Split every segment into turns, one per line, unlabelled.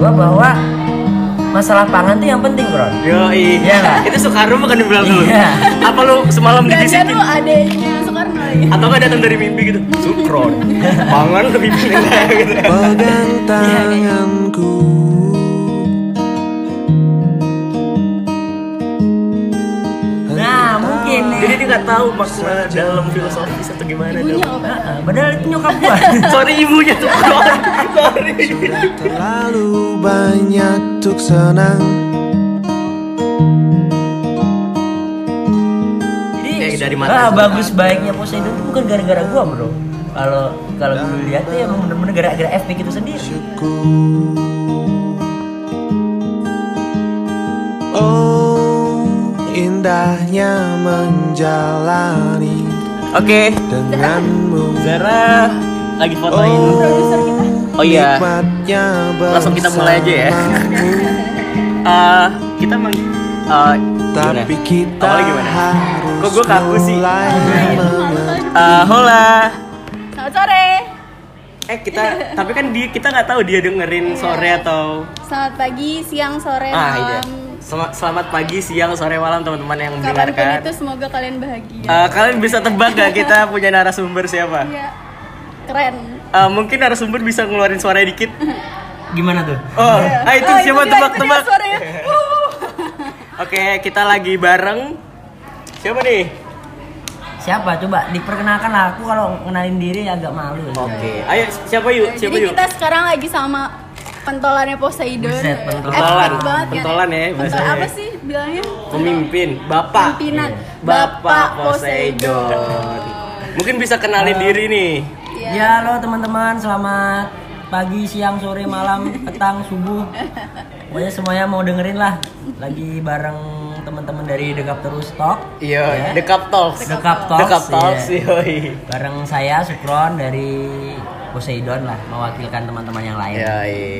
gua bahwa masalah pangan tuh yang penting bro
Yoi
Iya nggak?
Itu Soekarno bukan dibilang dulu
Iya.
Apa lu semalam
Gak ada
dibisikin?
lu adanya Soekarno lagi
Atau nggak datang dari mimpi gitu Sukron Pangan ke mimpi gitu
Pegang tanganku
nah mungkin nih
Jadi dia nggak tahu makna dalam filosofis atau gimana
Ibunya
dalam-
apa?
Heeh, "Ah, padahal itu nyokap gua
Sorry ibunya tuh
Iya.
Sorry
Terlalu banyak untuk senang
jadi
Kayak Iya, dari mana
ah,
sih?
bagus baiknya Poseidon itu bukan gara-gara gua bro kalau kalau gue lihat tuh ya emang bener-bener gara-gara FP itu sendiri
syukur Oh indahnya menjalani
Oke
denganmu
Zara lagi fotoin
Oh
Oh iya
nikmatnya
Langsung kita mulai aja ya.
bersamamu.
Eh, Kita mang eh, gimana?
Tapi kita
Awalnya gimana?
harus
Kok gua kaku sih? Iya.
mulai mengerti.
Eh, hola
Selamat sore
Eh kita Tapi kan dia, kita nggak tahu dia
Iya.
dengerin sore atau
Selamat pagi, siang, sore,
Ah iya
malam
Sel- Selamat pagi, siang, sore, malam teman-teman yang
Kapanpun
mendengarkan
itu semoga kalian bahagia
Eh, Kalian bisa tebak gak kita punya narasumber siapa?
Iya Keren
Eh, mungkin narasumber bisa ngeluarin suaranya dikit.
gimana tuh
Oh, ah, itu
Oh,
siapa
dia, itu dia
tebak-tebak?
suaranya. Wuh.
Oke, kita lagi bareng. Siapa nih?
siapa coba diperkenalkan lah. aku kalau kenalin diri agak malu ya.
Oke, ayo siapa yuk? Siapa
Jadi
yuk?
kita sekarang lagi sama pentolannya Poseidon
Buset, pentolan.
Efek banget kan?
Pentolan ya,
Pentol-
bahasanya.
Apa sih bilangnya?
Pemimpin, Bapak.
Pimpinan
Bapak Poseidon. Mungkin bisa
Eh,
kenalin diri nih.
Iya.
Ya, halo teman-teman, selamat pagi, siang, sore, malam, petang, subuh. Pokoknya semuanya mau dengerin lah. Lagi bareng teman-teman dari Dekap Terus Talk.
Iya,
Ya.
The Cup Talks.
The Cup
The
Talks,
Cup Talks,
iya.
yoi.
Bareng saya Sukron dari Poseidon lah, mewakilkan teman-teman yang lain.
Iya. Yoi. Ya,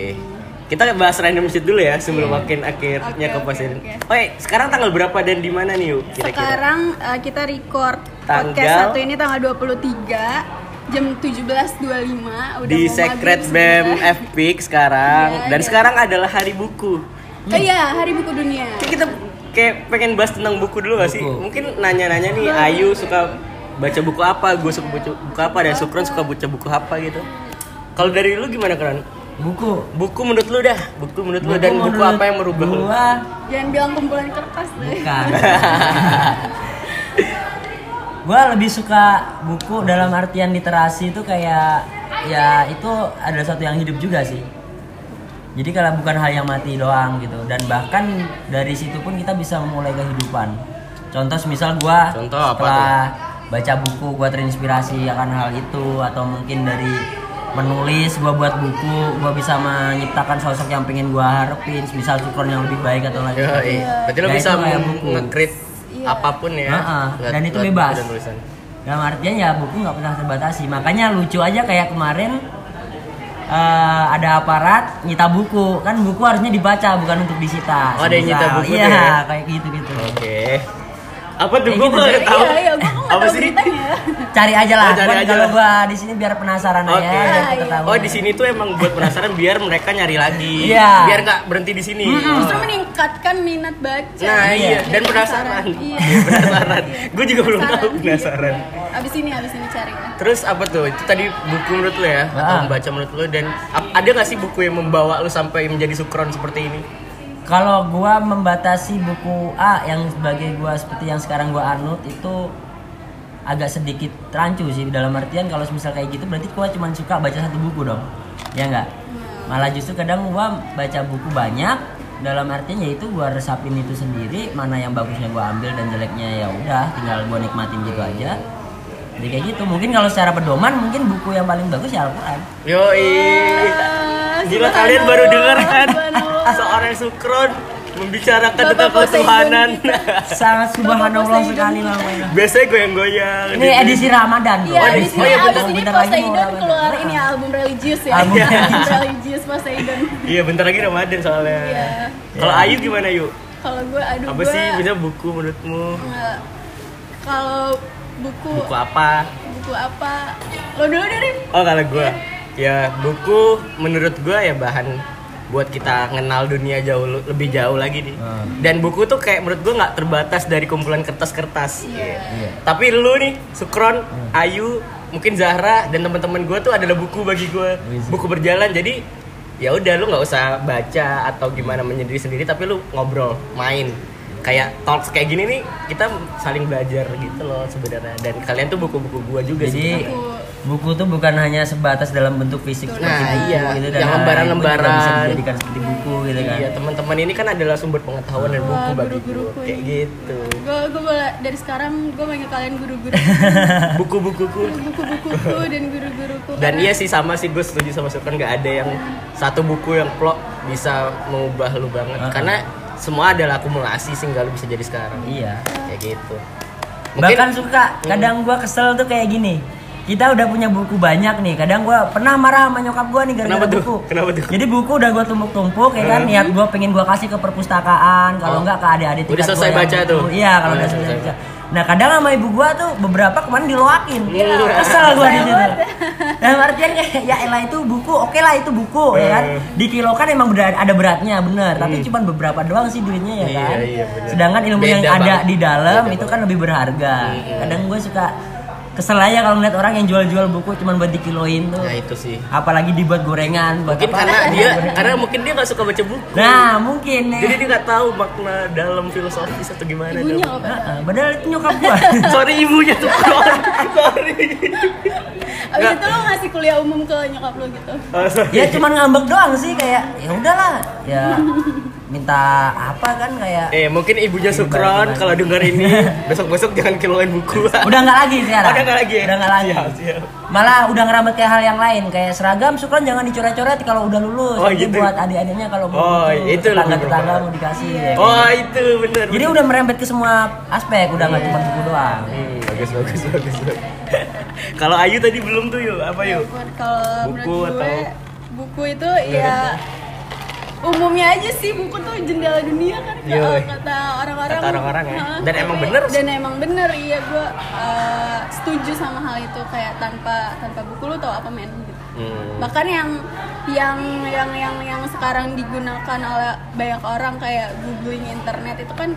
Kita bahas random shit dulu ya sebelum makin akhirnya
Iya. Oke,
ke
oke,
Poseidon.
oke.
Oke, sekarang tanggal berapa dan di mana nih yuk? Kira-kira.
Sekarang uh, kita record podcast
Tanggal?
satu ini tanggal 23 jam 17.25 udah
Di
mau
Secret
maghrib
BEM
sebentar.
FPIC sekarang
Iya,
dan
iya.
sekarang adalah hari buku.
Oh iya, Hari Buku Dunia.
Kayak kita kayak pengen bahas tentang buku dulu gak sih?
Buku.
Mungkin nanya-nanya nih Ayu suka baca buku apa, gue suka baca buku apa dan Sukron suka baca buku apa gitu. Kalau dari lu gimana Kron?
Buku.
Buku menurut lu dah, buku menurut lu dan buku
menurut
apa yang merubah lu?
Gua
Jangan bilang kumpulan kertas deh.
bukan. gua lebih suka buku dalam artian literasi itu kayak ya itu adalah satu yang hidup juga sih. Jadi kalau bukan hal yang mati doang gitu dan bahkan dari situ pun kita bisa memulai kehidupan. Contoh misal gua
Contoh apa
setelah baca buku gua terinspirasi akan hal itu atau mungkin dari menulis gua buat buku gua bisa menciptakan sosok yang pengen gua harapin misal sukron yang lebih baik atau lain
Yoi.
sebagainya.
Berarti lo
Ya,
bisa
itu kayak
meng-
buku.
nge-create
Iya.
apapun ya.
Heeh,
lewat-
dan itu
lewat
bebas.
buku dan tulisan.
dalam artian ya buku nggak pernah terbatasi makanya lucu aja kayak kemarin eh, ada aparat nyita buku kan buku harusnya dibaca bukan untuk disita
Oh, ada yang nyita
Misal.
buku
iya
tuh ya?
kayak gitu gitu
Oke. Apa
Kayak
tuh gue
gitu,
nggak
jadi-
tahu?
Iya, iya, gua kok nggak
Apa
tahu
sih?
beritanya.
cari aja lah
Oh, cari
Buat
aja
kalau
lah.
gua di sini biar penasaran
Oke.
aja biar
Ah, iya.
ketahuan.
Oh di sini tuh emang buat penasaran biar mereka nyari lagi.
Iya.
Biar nggak berhenti di sini. Oh.
Justru meningkatkan minat baca.
Nah
Iya.
iya. Dan penasaran.
Iya.
Iya, penasaran. Gue juga belum tahu
Penasaran.
penasaran.
Abis ini, abis ini cari. ya.
Terus apa tuh? Itu tadi buku menurut lo ya? Atau
Ah.
membaca menurut lo dan ap- ada nggak sih buku yang membawa lo sampai menjadi sukron seperti ini?
Kalau gua membatasi buku A yang sebagai gua seperti yang sekarang gua anut itu agak sedikit rancu sih dalam artian kalau misal kayak gitu berarti gua cuma suka baca satu buku dong. Ya enggak? Malah justru kadang gua baca buku banyak dalam artian yaitu gua resapin itu sendiri mana yang bagusnya gua ambil dan jeleknya ya udah tinggal gua nikmatin gitu aja. Jadi kayak gitu. Mungkin kalau secara pedoman mungkin buku yang paling bagus ya Al-Qur'an.
Yoi.
Ah,
Gila
subhanallah,
kalian baru denger kan
subhanallah.
seorang sukron membicarakan
Bapak
tentang
Poseidon
ketuhanan.
kita.
Sangat subhanallah
Poseidon.
sekali namanya.
Biasanya goyang-goyang.
Ini edisi Ramadan, Bro.
Iya,
Oh, di-
abis
oh,
ini,
iya,
abis
bentar-
ini
bentar lagi mau
Poseidon
Ramadan. Iya.
keluar ini ya, album religius ya.
Album religius.
religius Poseidon.
Iya, bentar lagi Ramadan soalnya.
Iya.
Kalau Ayu gimana yuk?
Kalau gue, aduh
Apa
gue.
sih bisa buku menurutmu?
nggak- Kalau buku,
Buku apa?
buku apa? Lo dulu deh, Rif.
Oh, kalau gua ya buku menurut gua ya bahan buat kita kenal dunia jauh lebih jauh lagi nih.
Hmm.
Dan buku tuh kayak menurut gua nggak terbatas dari kumpulan kertas-kertas.
Iya.
Tapi lu nih, Sukron, Ayu, mungkin Zahra dan teman-teman gue tuh adalah buku bagi gue,
Wih,
buku berjalan. Jadi ya udah lu nggak usah baca atau gimana menyendiri sendiri, tapi lu ngobrol, main. Kayak talks kayak gini nih, kita saling belajar gitu loh sebenarnya. Dan kalian tuh buku-buku gue juga
Jadi
sebenarnya.
buku tuh bukan hanya sebatas dalam bentuk fisik
Nah,
seperti buku
iya.
gitu hal-hal lain pun
Yang
juga bisa
lembaran-lembaran.
dijadikan seperti buku gitu kan.
Iya, teman-teman ini kan adalah sumber pengetahuan dan buku
Wah,
bagi gue.
guru-guruku
Kayak
ini.
gitu.
Gue gue dari sekarang gue manggil kalian guru-guru,
Buku-bukuku
buku-bukuku dan guru-guruku.
Dan
karena-
iya sih sama sih gue setuju sama Sukron nggak ada yang satu buku yang plot bisa mengubah lu banget
Uh-uh.
karena semua adalah akumulasi sehingga lu bisa jadi sekarang
Iya.
kayak gitu.
Bahkan suka kadang gua kesel tuh kayak gini. Kita udah punya buku banyak nih. Kadang gua pernah marah sama nyokap gua nih gara-gara
Kenapa tuh?
buku.
Kenapa tuh?
Jadi buku udah gua tumpuk-tumpuk ya kan. Niat gua pengen gua kasih ke perpustakaan, kalau
Hmm. Oh.
enggak ke adik-adik
Udah
tingkat
selesai
gua yang
baca
buku.
tuh?
Iya, kalau
Oh,
udah
udah
selesai
selesai
baca. Nah, kadang sama ibu gua tuh beberapa kemarin diloakin.
Iya.
Kesel gua di situ. Dan artian kayak ya elah itu buku, oke lah itu buku ya
Hmm.
kan. Dikilokan emang berat, ada beratnya bener, tapi cuman beberapa doang sih duitnya ya
Iya,
kan.
iya, bener.
Sedangkan ilmu yang
Beda
ada
banget. Hmm.
di dalam
Beda
itu kan lebih berharga. Kadang gue suka kesel aja kalau ngeliat orang yang jual-jual buku cuman buat dikiloin tuh.
Nah itu sih.
Apalagi dibuat gorengan, buat
Mungkin
apa.
karena dia karena mungkin dia nggak suka baca buku.
Nah, mungkin ya.
Jadi dia nggak tahu makna dalam filosofis atau gimana.
ibunya
dalam-
apa?
Heeh, padahal itu nyokap gua.
Sorry ibunya tuh. Sorry.
Abis itu lo ngasih kuliah umum ke nyokap lo gitu.
Oh, sorry.
ya cuman ngambek doang sih kayak ya udahlah. Ya minta apa kan kayak
Eh mungkin ibunya Sukron kalau denger ini besok-besok jangan kiloin buku.
udah nggak lagi sekarang.
Udah nggak lagi. ya?
Udah nggak lagi.
Siap, siap.
Malah udah ngerambat kayak hal yang lain kayak seragam Sukron jangan dicoret-coret kalau udah lulus.
Oh,
Nanti
gitu.
buat adik-adiknya kalau mau butuh,
Oh, itu lebih
tetangga-tetangga
bermanfaat.
mau dikasih. ya kan?
Oh itu bener.
Jadi
bener.
udah merembet ke semua aspek, udah
Iya.
nggak cuma buku doang.
Hmm, bagus bagus bagus. bagus. Kalau Ayu tadi belum tuh yuk apa yuk?
Buat
Buku
kalau menurut gue
atau- Iya.
buku itu ya umumnya aja sih buku tuh jendela dunia kan kalau
Yoi.
kata orang-orang.
Iya, Kata orang-orang ya.
Hah,
Dan emang
tapi-
bener sih.
Dan emang bener iya gue eh, setuju sama hal itu kayak tanpa tanpa buku lo tau apa men gitu.
Hmm.
bahkan yang yang yang yang yang sekarang digunakan oleh banyak orang kayak googling internet itu kan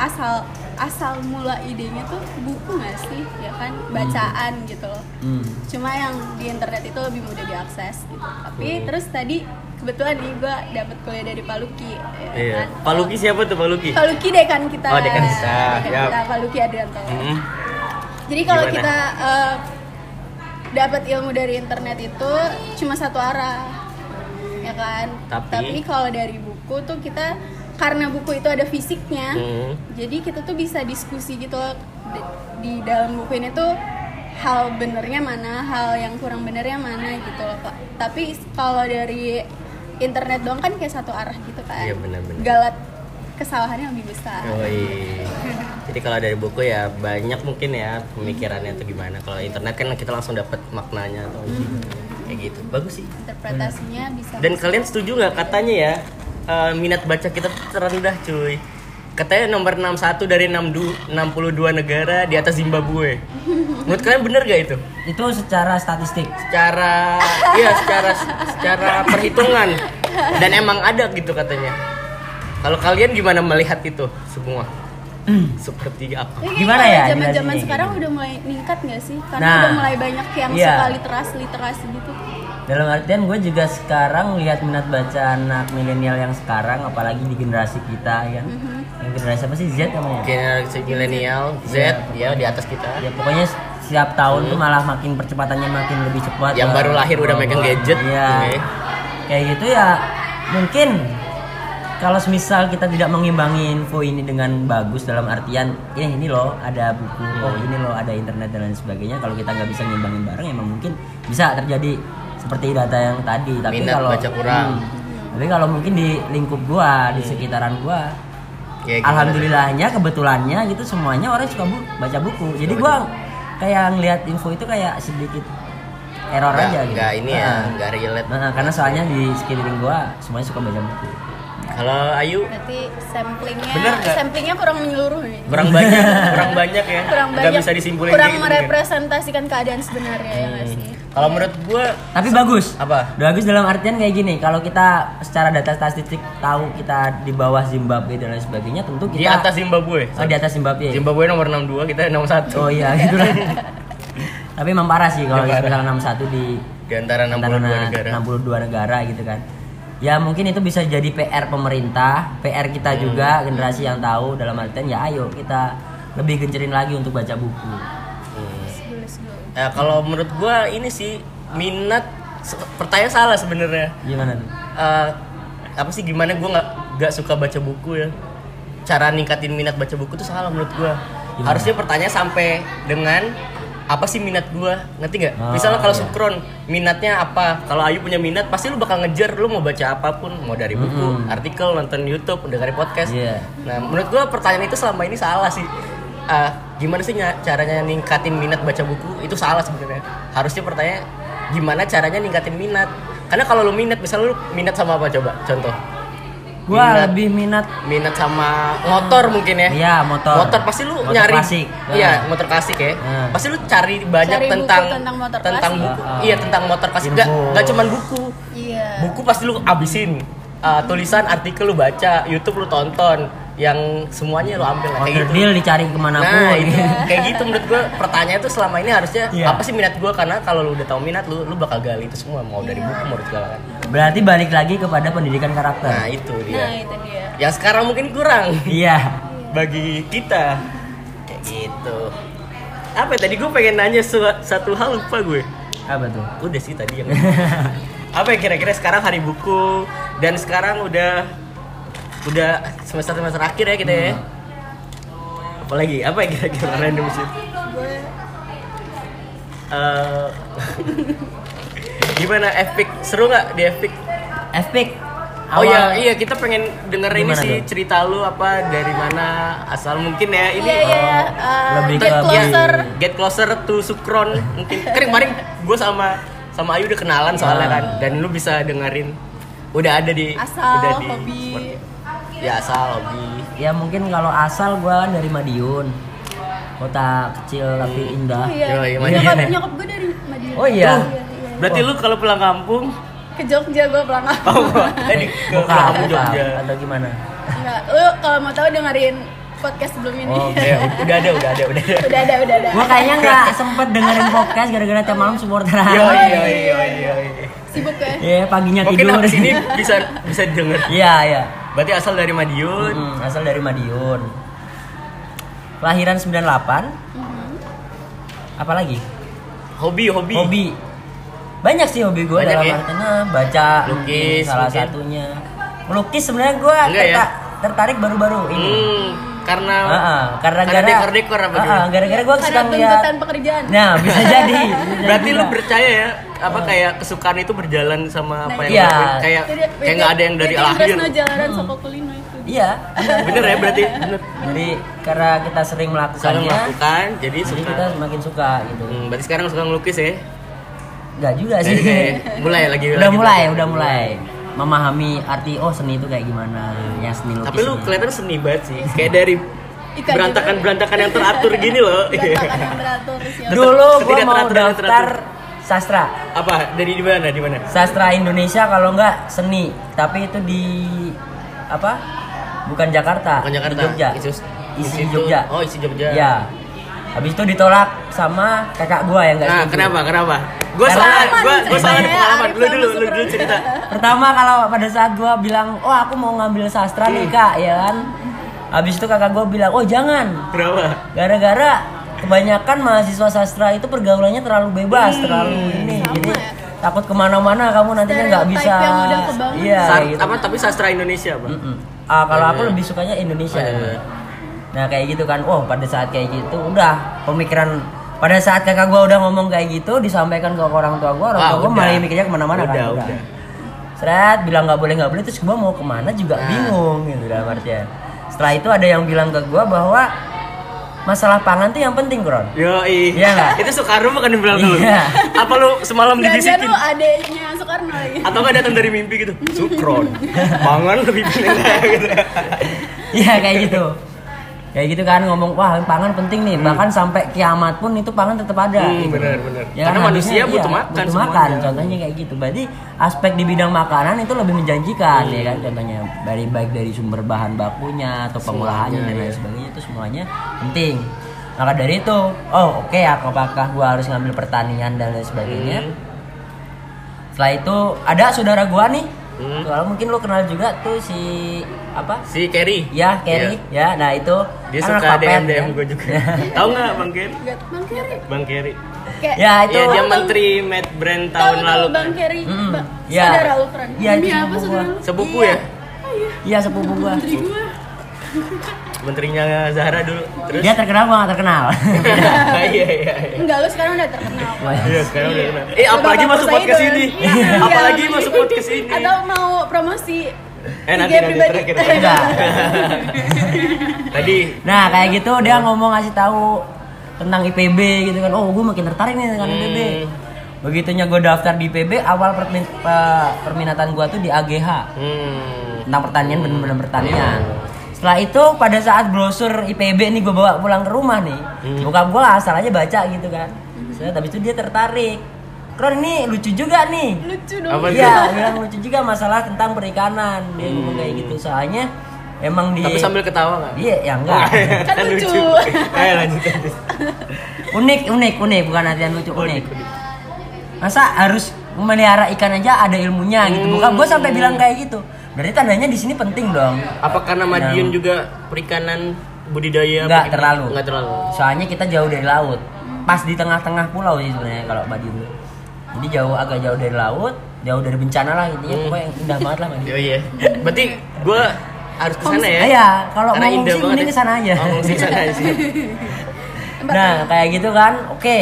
asal asal mula idenya tuh buku nggak sih ya kan
Hmm.
bacaan gitu loh
Hmm.
cuma yang di internet itu lebih mudah diakses gitu tapi terus tadi kebetulan nih gue dapet kuliah dari Paluki ya
Iya.
kan?
Pak Luki siapa tuh Pak Luki?
Paluki dekan kita
Oh, dekan kita,
dekan
yap.
kita Paluki Adrianto
Hmm.
jadi kalau
Gimana?
kita eh, dapat ilmu dari internet itu cuma satu arah, ya kan?
Tapi-
kalau dari buku tuh kita karena buku itu ada fisiknya,
Hmm.
jadi kita tuh bisa diskusi gitu loh, di, di dalam buku ini tuh hal benernya mana, hal yang kurang benernya mana gitu loh Kak. Tapi kalau dari internet doang kan kayak satu arah gitu kan.
Iya, Oh. benar-benar.
Galat kesalahannya lebih besar.
Yoi. Jadi kalau dari buku ya banyak mungkin ya pemikirannya atau gimana. Kalau internet kan kita langsung dapat maknanya atau gitu. kayak gitu. Bagus sih.
Interpretasinya bisa
Dan kalian setuju nggak katanya ya eh, minat baca kita tuh terendah cuy. Katanya nomor 61 dari 62 62 negara di atas Zimbabwe. Menurut kalian bener gak itu?
Itu secara statistik.
Secara iya secara secara perhitungan dan emang ada gitu katanya. Kalau kalian gimana melihat itu semua?
Hmm.
Seperti apa?
Tapi
Gimana ya
kayaknya kalau Zaman-zaman
jelasinnya
sekarang
gitu?
udah mulai ningkat nggak sih? Karena
Nah,
udah mulai banyak yang
iya.
suka literasi-literasi gitu.
Dalam artian gue juga sekarang lihat minat baca anak milenial yang sekarang, apalagi di generasi kita ya. Yang generasi apa sih Z namanya?
Generasi milenial Z ya di atas kita.
Ya pokoknya setiap tahun tuh malah makin percepatannya makin lebih cepat.
Hmm. Yang
lah.
baru lahir udah megang gadget. gitu ya.
Iya.
Oke.
Kayak gitu ya mungkin kalau semisal kita tidak mengimbangi info ini dengan bagus dalam artian ya ini ini loh ada buku,
Hmm.
oh ini loh ada internet dan lain sebagainya. Kalau kita nggak bisa ngimbangin bareng emang mungkin bisa terjadi seperti data yang tadi. Tapi
Minat
kalau
baca kurang. Hmm.
Hmm. tapi kalau mungkin di lingkup gua, di sekitaran gua,
Ya, gimana?
alhamdulillahnya kebetulannya gitu semuanya orang suka bu- baca buku jadi gua kayak ngelihat info itu kayak sedikit error
Nggak-
aja gitu
nggak ini ya,
Nah,
nggak relate.
nah, karena soalnya di sekeliling gua semuanya suka baca buku
Kalau Ayu
Berarti samplingnya
Bener nggak?
samplingnya kurang menyeluruh nih.
kurang banyak, kurang banyak ya.
Kurang
Nggak
banyak.
bisa disimpulin
kurang
kayak gitu, Hmm. kan?
merepresentasikan keadaan sebenarnya ya nggak sih?
Kalau menurut gua
Tapi bagus.
apa?
Bagus dalam artian kayak gini, kalau kita secara data statistik tahu kita di bawah Zimbabwe dan lain sebagainya, tentu kita
Di atas Zimbabwe.
oh, di atas Zimbabwe.
Zimbabwe nomor 62, kita nomor 1.
Oh iya, gitu lah. Tapi memang parah sih kalau
Memang
misalnya 61 di
Di antara 62
antara na-
negara.
62 negara gitu kan. Ya mungkin itu bisa jadi PR pemerintah, PR kita
Hmm.
juga generasi yang tahu dalam artian ya ayo kita lebih gencerin lagi untuk baca buku.
Sebelum sebelum.
Nah, kalau menurut gua ini sih minat se- pertanyaan salah sebenarnya.
Gimana tuh?
Eh, apa sih gimana gua nggak nggak suka baca buku ya? Cara ningkatin minat baca buku tuh salah menurut gua.
Gimana?
Harusnya pertanyaan sampai dengan apa sih minat gua? Ngerti nggak?
Ah,
Misalnya kalau
iya.
Sukron minatnya apa? Kalau Ayu punya minat pasti lu bakal ngejar lu mau baca apapun, mau dari buku,
Mm-mm.
artikel, nonton YouTube, dari podcast.
Iya.
Nah, menurut gua pertanyaan itu selama ini salah sih. Ah, gimana sih nya- caranya ningkatin minat baca buku? Itu salah sebenarnya. Harusnya pertanyaan gimana caranya ningkatin minat? Karena kalau lu minat, misalnya lu minat sama apa coba? Contoh.
Gua
Minat.
lebih minat
Minat sama motor mungkin ya.
Iya, motor.
Motor pasti lu
Motor
nyari.
klasik.
Iya,
Nah.
motor klasik ya.
Nah.
Pasti lu cari banyak
Cari buku
tentang
tentang motor klasik.
buku.
Ah, ah.
Iya, tentang motor klasik. Enggak
Info.
enggak cuman buku
Iya.
buku pasti lu abisin Uh, tulisan artikel lu baca YouTube lu tonton yang semuanya lu ambil lah,
order
kayak
deal
gitu
dicari kemana
nah
pun.
itu kayak gitu menurut gue pertanyaan tuh selama ini harusnya
Iya.
apa sih minat gue karena kalau lu udah tahu minat lu lu bakal gali itu semua mau dari buku mau dari segala kan
Berarti balik lagi kepada pendidikan
nah
karakter.
itu
Nah,
dia
itu dia.
yang sekarang mungkin kurang
Iya.
bagi kita kayak gitu apa ya, tadi gue pengen nanya su- satu hal lupa gue
Apa tuh?
udah sih tadi yang apa ya kira-kira sekarang hari buku dan sekarang udah udah semester semester akhir ya kita ya
Hmm.
apalagi apa ya kira-kira random sih Eh, gimana epic seru nggak di epic
Epic.
oh
Awal-
ya iya kita pengen denger ini
Gimana
sih
tuh?
cerita lu apa dari mana asal mungkin ya ini
Iya iya iya. Eh,
lebih
get
ke-
closer.
iya.
Get closer to Sukron mungkin. Kan kemarin gue sama sama Ayu udah kenalan soalnya kan dan lu bisa dengerin udah ada di
Ah. Asal
udah di
hobi.
Spotify. Ya asal hobi.
Ya mungkin kalau asal gua kan dari Madiun. Kota kecil tapi indah.
Oh iya.
Yo, iya, Madiun
Nyokap,
ya?
nyokap gue dari Madiun.
Oh iya.
Berarti lu kalau pulang kampung
Ke Jogja gue pulang
oh, tadi ke
Buka,
pulang kampung
buka,
Jogja.
atau gimana?
Enggak, lu kalau mau tahu dengerin podcast sebelum ini.
Oh, Oke, kan- udah ada, udah ada, udah ada.
udah ada, udah ada.
Gua kayaknya nggak sempet dengerin podcast gara-gara tiap malam supporteran.
Yo yo yo yo.
Sibuk ya.
Iya, paginya
Mungkin
tidur.
habis ini bisa bisa denger.
Iya, iya.
Berarti asal dari
Mm,
Madiun.
asal dari Madiun. Kelahiran 98. Apalagi?
Hobi, Mm-hmm. hobi.
Hobi. Banyak sih hobi gue
Banyak
dalam
ya?
artinya baca mungkin
Lukis,
salah
mungkin.
satunya. Melukis sebenarnya gue
Enggak ya?
tertarik baru-baru ini.
Hmm, karena
Heeh, karena
karena
gara-
dekor-dekor apa
Heeh,
gimana?
gara-gara gue suka
Karena
ngeliat
tuntutan pekerjaan.
Nah, bisa jadi. bisa
Berarti
jadi.
lu percaya ya apa kayak kesukaan itu berjalan sama apa yang
Iya.
lu lakuin? kayak
Jadi,
kayak nggak ada yang dari
Jadi
lahir.
Tresno Jalaran Sokokulino itu.
Iya.
Bener ya berarti bener.
Jadi karena kita sering
Saling
melakukannya,
melakukan jadi
jadi
suka.
kita semakin suka gitu.
Hmm, berarti sekarang suka ngelukis ya? Hmm.
Enggak juga sih.
Jadi kayak mulai ya, lagi
udah
lagi.
mulai, udah mulai memahami arti oh seni itu kayak gimana ya seni lukis.
Tapi lu
ini.
kelihatan seni banget sih. Kayak dari
Ika
berantakan-berantakan yang teratur gini loh.
Berantakan yang beratur siapa?
dulu gua
Ketidak
mau
teratur,
daftar
teratur.
sastra.
apa? Dari di mana? Di mana?
Sastra Indonesia kalau enggak seni, tapi itu di apa? Bukan Jakarta,
Bukan Jakarta.
di Jogja.
Isus-
isi
Institut-
Jogja.
Oh, isi Jogja.
Iya. Habis itu ditolak sama kakak gua yang enggak
Nah,
setuju.
kenapa? Kenapa? Gua
Karena-
soalnya gua gua
Pengalaman,
soalnya ada
ceritanya
pengalaman
Arif
dulu
sama
dulu lu
Sukron.
dulu cerita.
Pertama kalau pada saat gua bilang, "Oh, aku mau ngambil sastra nih, Kak," ya kan. Habis itu kakak gua bilang, "Oh, jangan."
Kenapa?
Gara-gara kebanyakan mahasiswa sastra itu pergaulannya terlalu bebas,
Hmm.
terlalu ini. Jadi takut kemana-mana kamu nantinya nggak
ya. Stereotype
bisa.
yang udah kebangun.
Iya.
Sa-
gitu.
apa tapi sastra Indonesia, Bang?
Mm-mm. Ah, kalau aku
Iya.
lebih sukanya Indonesia.
Iya, iya.
Nah kayak gitu kan, oh pada saat kayak gitu udah pemikiran pada saat kakak gua udah ngomong kayak gitu disampaikan ke orang tua gua, orang
Wah,
tua gua
Ah, udah.
malah mikirnya kemana-mana
Udah,
kan.
udah.
Seret bilang nggak boleh nggak boleh terus gua mau kemana juga
Nah.
bingung gitu dalam artian. Setelah itu ada yang bilang ke gua bahwa masalah pangan tuh yang penting Kron.
Yo,
Iya nggak?
Itu Soekarno bukan yang bilang dulu.
Iya.
kan Apa lu semalam dibisikin?
Jangan-jangan lu adeknya suka Soekarno ya. lagi.
atau nggak datang dari mimpi gitu sukron pangan lebih pindah gitu
Iya kayak gitu. Kayak gitu kan ngomong wah pangan penting nih bahkan sampai kiamat pun itu pangan tetap ada.
Hmm,
gitu.
benar, benar.
Ya,
Karena
kan,
manusia
harusnya,
butuh
iya,
makan
Butuh makan
semuanya.
contohnya kayak gitu. Berarti aspek di bidang makanan itu lebih menjanjikan ya
Hmm.
kan contohnya dari baik dari sumber bahan bakunya atau pengolahannya dan
iya.
lain sebagainya itu semuanya penting. Maka dari itu, oh oke apakah gua harus ngambil pertanian dan lain sebagainya?
Hmm.
Setelah itu ada saudara gua nih.
Hmm.
Soalnya mungkin lo kenal juga tuh si apa?
si Kerry
Ya, Kerry.
Iya.
Ya, nah itu
dia
kan
suka
anak papet,
DM
ya.
DM
kan?
gue juga tahu nggak bang Kerry
Gak Bang Keri.
bang Kerry
Kayak
Ya, itu.
Iya dia menteri Med Brand
tahu
tahun
tuh
lalu
Bang Keri,
Mm-mm.
Bang-
Iya.
saudara Ultron.
Iya,
Demi
itu
apa
sepupu
saudara?
gua.
lu?
sepupu
Iya.
ya
Iya, sepupu gua.
Menteri gua.
menterinya Zahra dulu terus
Dia terkenal gua gak terkenal.
iya iya iya.
Enggak, lu sekarang udah terkenal. kok.
Iya, sekarang udah kenal. Eh, apalagi
Bapak
masuk
Saidon.
podcast ini.
Iya.
Apalagi masuk podcast ini.
Atau mau promosi
Eh, nanti,
IG
nanti,
pribadi.
terakhir.
Udah.
Tadi
Nah, kayak gitu dia ngomong ngasih tahu tentang IPB gitu kan. Oh, gua makin tertarik nih dengan
Hmm.
IPB. Begitunya gua daftar di IPB, awal permin- pe- perminatan gua tuh di AGH.
hmm. Iya.
tentang pertanian benar-benar pertanian. Setelah itu pada saat brosur IPB nih gue bawa pulang ke rumah nih,
Hmm.
bokap gue asal aja baca gitu kan. Setelah tapi itu dia tertarik. Kron ini lucu juga nih.
Lucu dong.
Apa
Iya,
tuh?
bilang lucu juga masalah tentang perikanan. Dia ngomong kayak gitu. Soalnya emang di
Hmm. Tapi sambil ketawa nggak?
Iya, ya enggak.
Kan lucu.
Eh, lanjut lanjut.
unik, unik, unik, bukan latihan lucu,
Oh,
unik. Masa harus memelihara ikan aja ada ilmunya gitu. Bukan gue sampai
Hmm.
bilang kayak gitu. Berarti tandanya di sini penting dong.
Apa karena Madiun juga perikanan budidaya?
Iya. Nggak
perikanan-
terlalu.
Nggak terlalu.
Soalnya kita jauh dari laut. Pas di tengah-tengah pulau sih sebenarnya kalau Madiun. tuh. Jadi jauh agak jauh dari laut, jauh dari bencana lah intinya
Hmm.
pokoknya indah banget lah Madiun.
Oh iya. Berarti gue harus kesana ya?
Ah, ya, kalau mau
Karena indah
ngungsi
banget
mending
ya.
kesana aja.
Oh, ngungsi kesana aja.
nah, kayak gitu kan. Oke.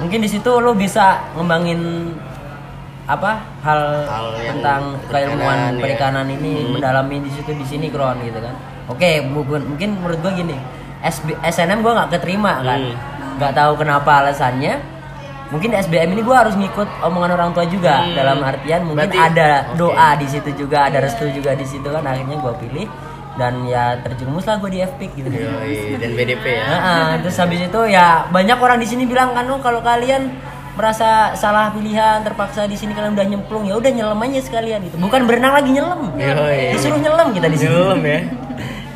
Mungkin di situ lo bisa ngembangin apa hal,
Hal yang
tentang keilmuan
perikanan, ya.
perikanan ini
Hmm.
mendalami di situ di sini kron gitu kan oke bu- bu- mungkin menurut gua gini SB, SNM gua nggak keterima kan
Hmm.
nggak tahu kenapa alasannya mungkin SBM ini gua harus ngikut omongan orang tua juga
Hmm.
dalam artian mungkin
Berarti-
ada
oke.
doa di situ juga ada restu juga di situ kan akhirnya gua pilih dan ya terjerumus lah gua di FPIK gitu
Yoi, dan BDP ya.
Heeh, terus habis itu ya banyak orang di sini bilang kan "Oh, kalau kalian merasa salah pilihan terpaksa di sini kalian udah nyemplung ya udah nyelam aja sekalian itu bukan berenang lagi nyelam
Yoi.
disuruh nyelam kita di sini
Belum ya.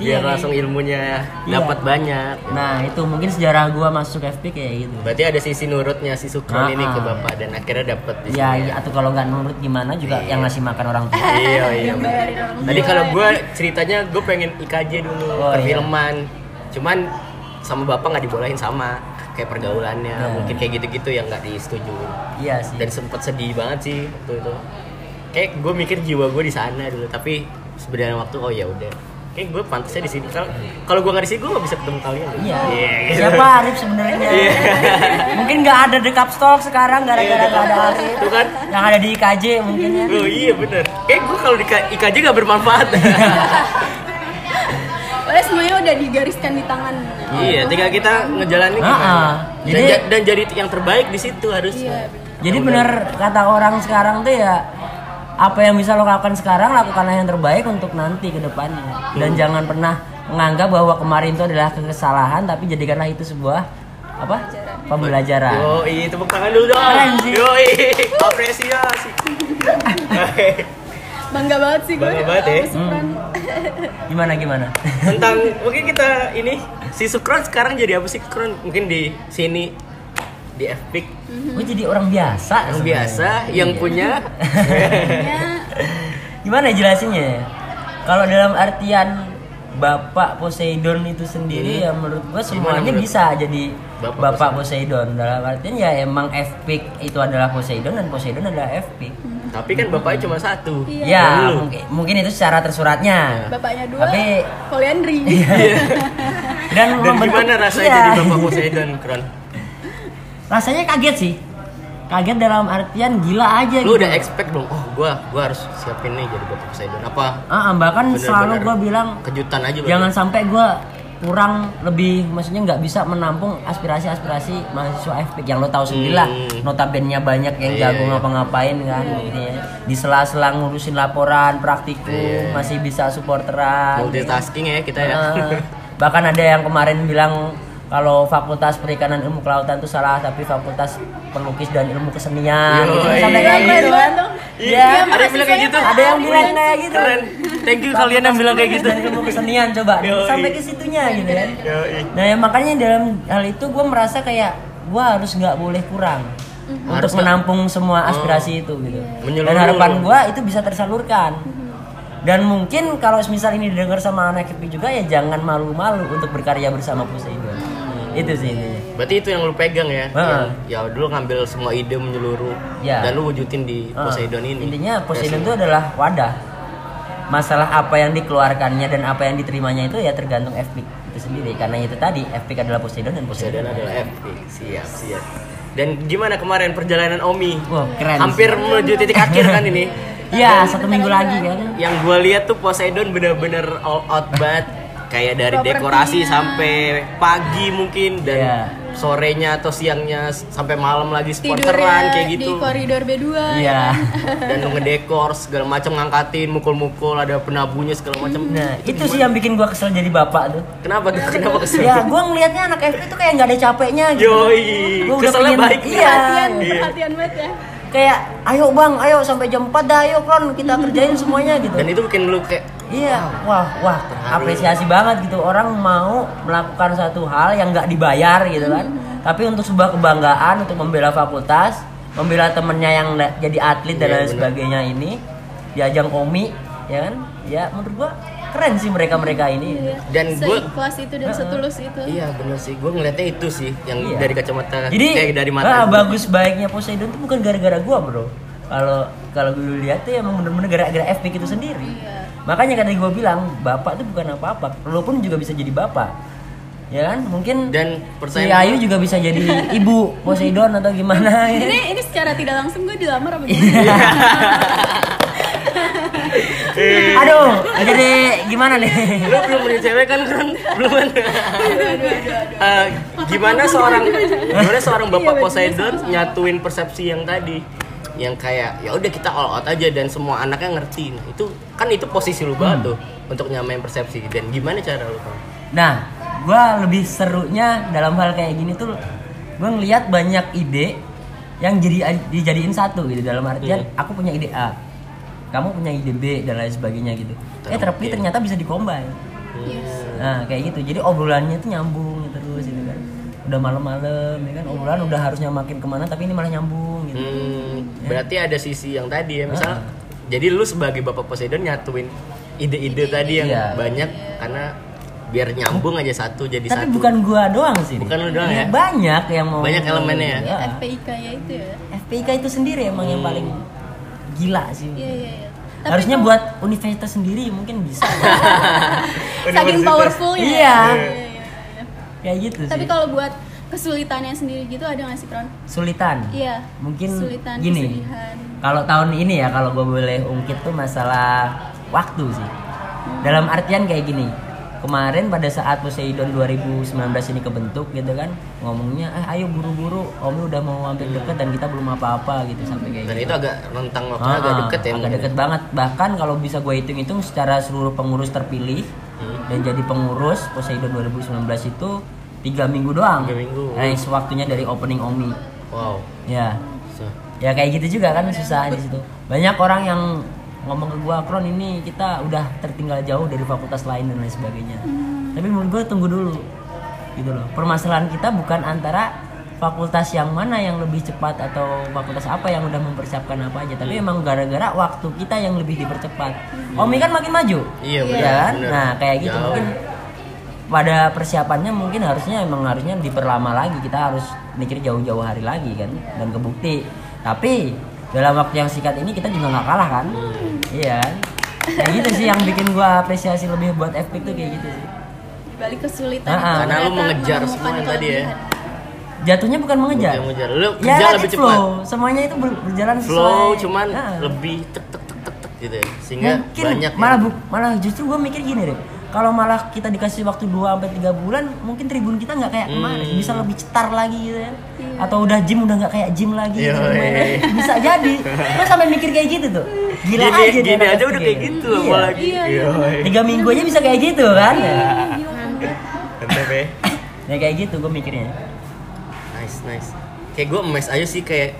Iya.
Biar langsung ilmunya ya.
Iya.
dapat banyak.
nah itu mungkin sejarah gua masuk FP kayak gitu
Berarti ada sisi nurutnya si Sukron ini ke
Ah.
bapak dan akhirnya dapat di
ya,
sini.
ya, atau kalau nggak nurut gimana juga yang ngasih makan orang tua
Iya iya. bener.
Dari orang
Tadi kalau gue ceritanya gue pengen IKJ dulu
Oh, iya.
perfilman, cuman sama bapak nggak dibolehin sama kayak pergaulannya
Nah.
mungkin kayak gitu-gitu yang nggak disetujui
iya sih
dan sempet sedih banget sih waktu itu kayak gue mikir jiwa gue di sana dulu tapi sebenarnya waktu oh ya udah kayak gue pantasnya di sini kalau kalau gue nggak di sini gue nggak bisa ketemu kalian
Iya.
Iya, gitu.
Siapa Arif sebenarnya? mungkin nggak ada dekap stok sekarang gara-gara nggak ada Arif.
Tuh kan.
Yang ada di IKJ mungkin ya.
Loh iya bener Kayak gue kalau di K- IKJ gak bermanfaat
Padahal semuanya udah digariskan di tangan.
Iya tinggal kita ngejalanin
Ah,
gimana.
ah.
Dan,
Jadi-
ja- dan jadi yang terbaik di situ harusnya
Jadi bener kata orang sekarang tuh ya apa yang bisa lo lakukan sekarang lakukanlah yang terbaik untuk nanti ke depannya. Dan
Hmm.
jangan pernah menganggap bahwa kemarin itu adalah kesalahan tapi jadikanlah itu sebuah apa? Pembelajaran.
Yo, iya tepuk tangan dulu
Keren
dong.
sih.
Yo, apresiasi. Oke.
Bangga banget sih gue.
Bangga banget ya.
sama Sukron.
Hmm. Gimana gimana?
Tentang mungkin kita ini si Sukron sekarang jadi apa sih Sukron? Mungkin di sini di Epic
Gue jadi orang biasa.
yang
sebenarnya.
biasa yang
Iya.
punya
Ya,
Gimana jelasinnya? ya? Kalau dalam artian Bapak Poseidon itu sendiri
Hmm.
ya menurut gue
Gimana
semuanya
menurut-
bisa jadi
Bapak
Bapak, Poseidon. Dalam artian ya emang FPIC itu adalah Poseidon dan Poseidon adalah FPIC.
tapi kan bapaknya cuma satu.
Iya.
Ya,
Lu.
mungkin, mungkin itu secara tersuratnya.
bapaknya dua.
Tapi- Iya,
Poliandri.
Dan,
Dan
membentuk-
gimana rasanya
iya.
jadi bapak Poseidon Kron?
Rasanya kaget sih. Kaget dalam artian gila aja
Lu
gitu.
udah expect belum? Oh, gua gua harus siapin nih jadi bapak Poseidon. Apa
Ah, ah, bahkan
Bener-bener.
selalu gue bilang
kejutan aja
jangan sampai gue kurang lebih maksudnya nggak bisa menampung aspirasi-aspirasi mahasiswa FP yang lo tahu sendiri lah
Hmm.
notabennya banyak yang
Iya,
jago
iya.
ngapa-ngapain kan gitu ya. di sela-sela ngurusin laporan praktikum
Iya.
masih bisa supporteran
multitasking ya kita ya
Heeh. bahkan ada yang kemarin bilang kalau fakultas perikanan ilmu kelautan itu salah tapi fakultas pelukis dan ilmu kesenian gitu.
Yoi.
sampai kayak gitu kan Iya,
Iya, ada yang bilang kayak gitu.
ada yang bilang kayak gitu
Keren. Thank you kalian yang bilang kayak gitu.
dan ilmu kesenian coba
Yoi.
sampai ke situnya gitu kan
Yoi.
nah ya makanya dalam hal itu gue merasa kayak gue harus nggak boleh kurang untuk
Harus nggak- Oh.
menampung semua aspirasi itu gitu
Menyeluruh.
dan harapan gue itu bisa tersalurkan dan mungkin kalau misal ini didengar sama anak KIPI juga ya jangan malu-malu untuk berkarya bersama Poseidon itu sih intinya.
Berarti itu yang lu pegang ya.
Heeh.
Yang, ya dulu ngambil semua ide menyeluruh
Ya.
dan lu wujudin di
Ah,
Eh. Poseidon ini. Iya
Intinya Poseidon itu adalah wadah. Masalah apa yang dikeluarkannya dan apa yang diterimanya itu ya tergantung FPIC itu sendiri. Karena itu tadi FPIC adalah Poseidon dan Poseidon
Poseidon adalah FP. Siap, siap. Dan gimana kemarin perjalanan Omi?
Wah, keren.
Hampir menuju titik akhir kan ini.
Iya, satu minggu lagi kan.
Yang gue lihat tuh Poseidon bener-bener all out banget. Kayak dari
Propertinya.
dekorasi sampai pagi mungkin dan
Iya.
sorenya atau siangnya s- sampai malam lagi
tidurnya
sporteran kayak
di
gitu.
koridor ya B2
Iya.
kan?
dan lu ngedekor segala macam ngangkatin mukul-mukul ada penabuhnya segala macam.
Nah, itu sih yang bikin gua kesel jadi bapak tuh.
Kenapa tuh? Kenapa kesel?
Ya, gua ngelihatnya anak FPIC itu kayak nggak ada capeknya gitu.
Yoi,
Gua udah
keselnya
pengen-
baik.
Iya.
perhatian
Iya.
perhatian banget ya
Kayak, ayo bang, ayo sampai jam 4 dah, ayo Kron, kita kerjain semuanya gitu.
Dan itu bikin lu kayak
Iya, wah, wah, apresiasi banget gitu. Orang mau melakukan satu hal yang nggak dibayar gitu kan. Tapi untuk sebuah kebanggaan, untuk membela fakultas, membela temennya yang le- jadi atlet dan
Iya,
lain
bener.
sebagainya ini, di ajang komi, ya kan? Ya, menurut gua keren sih mereka mereka ini.
Iya.
Dan gua-
seikhlas itu dan setulus itu
Iya bener sih, gue ngeliatnya itu sih yang
Iya.
dari kacamata
Jadi
eh, dari mata.
ah,
gua.
bagus baiknya Poseidon itu bukan gara-gara gua bro. Kalau kalau gue lihat tuh emang bener-bener gara-gara FP itu sendiri.
Iya.
Makanya kata gue bilang bapak tuh bukan apa-apa. Lo pun juga bisa jadi bapak. Ya kan? Mungkin
Dan
si
percaya
Ayu juga bisa jadi ibu Poseidon atau gimana. ya.
ini ini secara tidak langsung gue dilamar apa
Iya.
gimana
Aduh, jadi gimana nih?
Lu belum punya cewek kan kan belum kan? Eh, gimana seorang gimana seorang bapak Poseidon nyatuin persepsi yang tadi yang kayak ya udah kita all out aja dan semua anaknya ngerti nah itu kan itu posisi lu
Hmm.
banget tuh untuk nyamain persepsi dan gimana cara lu Bang?
Nah, gua lebih serunya dalam hal kayak gini tuh gue ngelihat banyak ide yang jadi dijadiin satu gitu dalam artian
Hmm.
aku punya ide A, kamu punya ide B dan lain sebagainya gitu. Eh tapi ternyata bisa dikombin. Nah, kayak gitu. Jadi obrolannya tuh nyambung terus gitu kan. Udah malam-malam ya kan obrolan udah harusnya makin kemana tapi ini malah nyambung gitu.
Hmm, berarti ada sisi yang tadi
Ah.
ya, misal jadi lu sebagai Bapak Poseidon nyatuin ide-ide tadi yang
Iya.
banyak karena biar nyambung aja satu jadi
Tapi
satu.
bukan gua doang sih. Iya,
Bukan lu doang ya?
Banyak yang mau
Banyak elemennya ya? Hmm.
Iya.
FPIK ya itu ya
FPIK itu sendiri emang yang paling gila sih.
iya iya iya Tapi
Harusnya
itu
buat universitas sendiri mungkin bisa.
saking powerfulnya
Iya.
ya.
Kayak gitu sih.
tapi kalau buat kesulitannya sendiri gitu ada nggak sih Kron?
Sulitan.
Iya.
Mungkin
Kesulitan,
gini.
kesedihan.
Kalau tahun ini ya kalau gue boleh ungkit tuh masalah waktu sih.
Hmm.
Dalam artian kayak gini. Kemarin pada saat Poseidon 2019 ini kebentuk gitu kan ngomongnya eh ayo buru-buru om lu udah mau hampir deket dan kita belum apa-apa gitu sampai kayak
Dan
gitu.
itu agak rentang waktu
Ah,
agak deket ya.
agak
mungkin.
deket banget. Bahkan kalau bisa gue hitung-hitung secara seluruh pengurus terpilih
Hmm.
dan jadi pengurus Poseidon 2019 itu tiga minggu doang.
Tiga minggu.
Nah, waktunya dari opening Omi.
Wow.
Ya,
So,
ya kayak gitu juga kan susah di situ. Banyak orang yang ngomong ke gue, Kron ini kita udah tertinggal jauh dari fakultas lain dan lain sebagainya. Tapi menurut gue tunggu dulu, gitu loh. Permasalahan kita bukan antara fakultas yang mana yang lebih cepat atau fakultas apa yang udah mempersiapkan apa aja. Tapi
Hmm.
emang gara-gara waktu kita yang lebih dipercepat. Omi kan makin maju.
Iya,
Ya
benar,
kan?
benar.
Nah kayak gitu
Jauh.
mungkin pada persiapannya mungkin harusnya emang harusnya diperlama lagi kita harus mikir jauh-jauh hari lagi kan dan kebukti tapi dalam waktu yang singkat ini kita juga nggak kalah kan iya kan? kayak gitu sih yang bikin gua apresiasi lebih buat FP tuh kayak gitu sih
Di balik kesulitan
Ah, ah.
itu
Karena lu
ternyata
mengejar
menemukan
semua yang tadi ya.
kelebihan.
jatuhnya bukan mengejar
Bukan mengejar. Lu
ya
kerja
let
lebih
it flow semuanya itu ber- berjalan sesuai
Flow cuman
Ah.
lebih tek tek tek tek tek gitu ya. Sehingga
mungkin
banyak
malah
yang-
bu- malah justru gua mikir gini deh kalau malah kita dikasih waktu 2 sampai 3 bulan, mungkin tribun kita nggak kayak kemarin,
Hmm.
bisa lebih cetar lagi gitu ya. Atau udah gym udah nggak kayak gym lagi gitu
Yoi.
lumayan. Bisa jadi. Lo sampai mikir kayak gitu tuh. Gila
gini,
aja
gini aja udah kayak gitu
loh
apalagi.
Iya, iya,
Tiga minggu aja bisa kayak gitu kan.
Gila, kan?
Mantap ya.
Ya kayak gitu gue mikirnya.
Nice, nice. Kayak gue emes aja sih kayak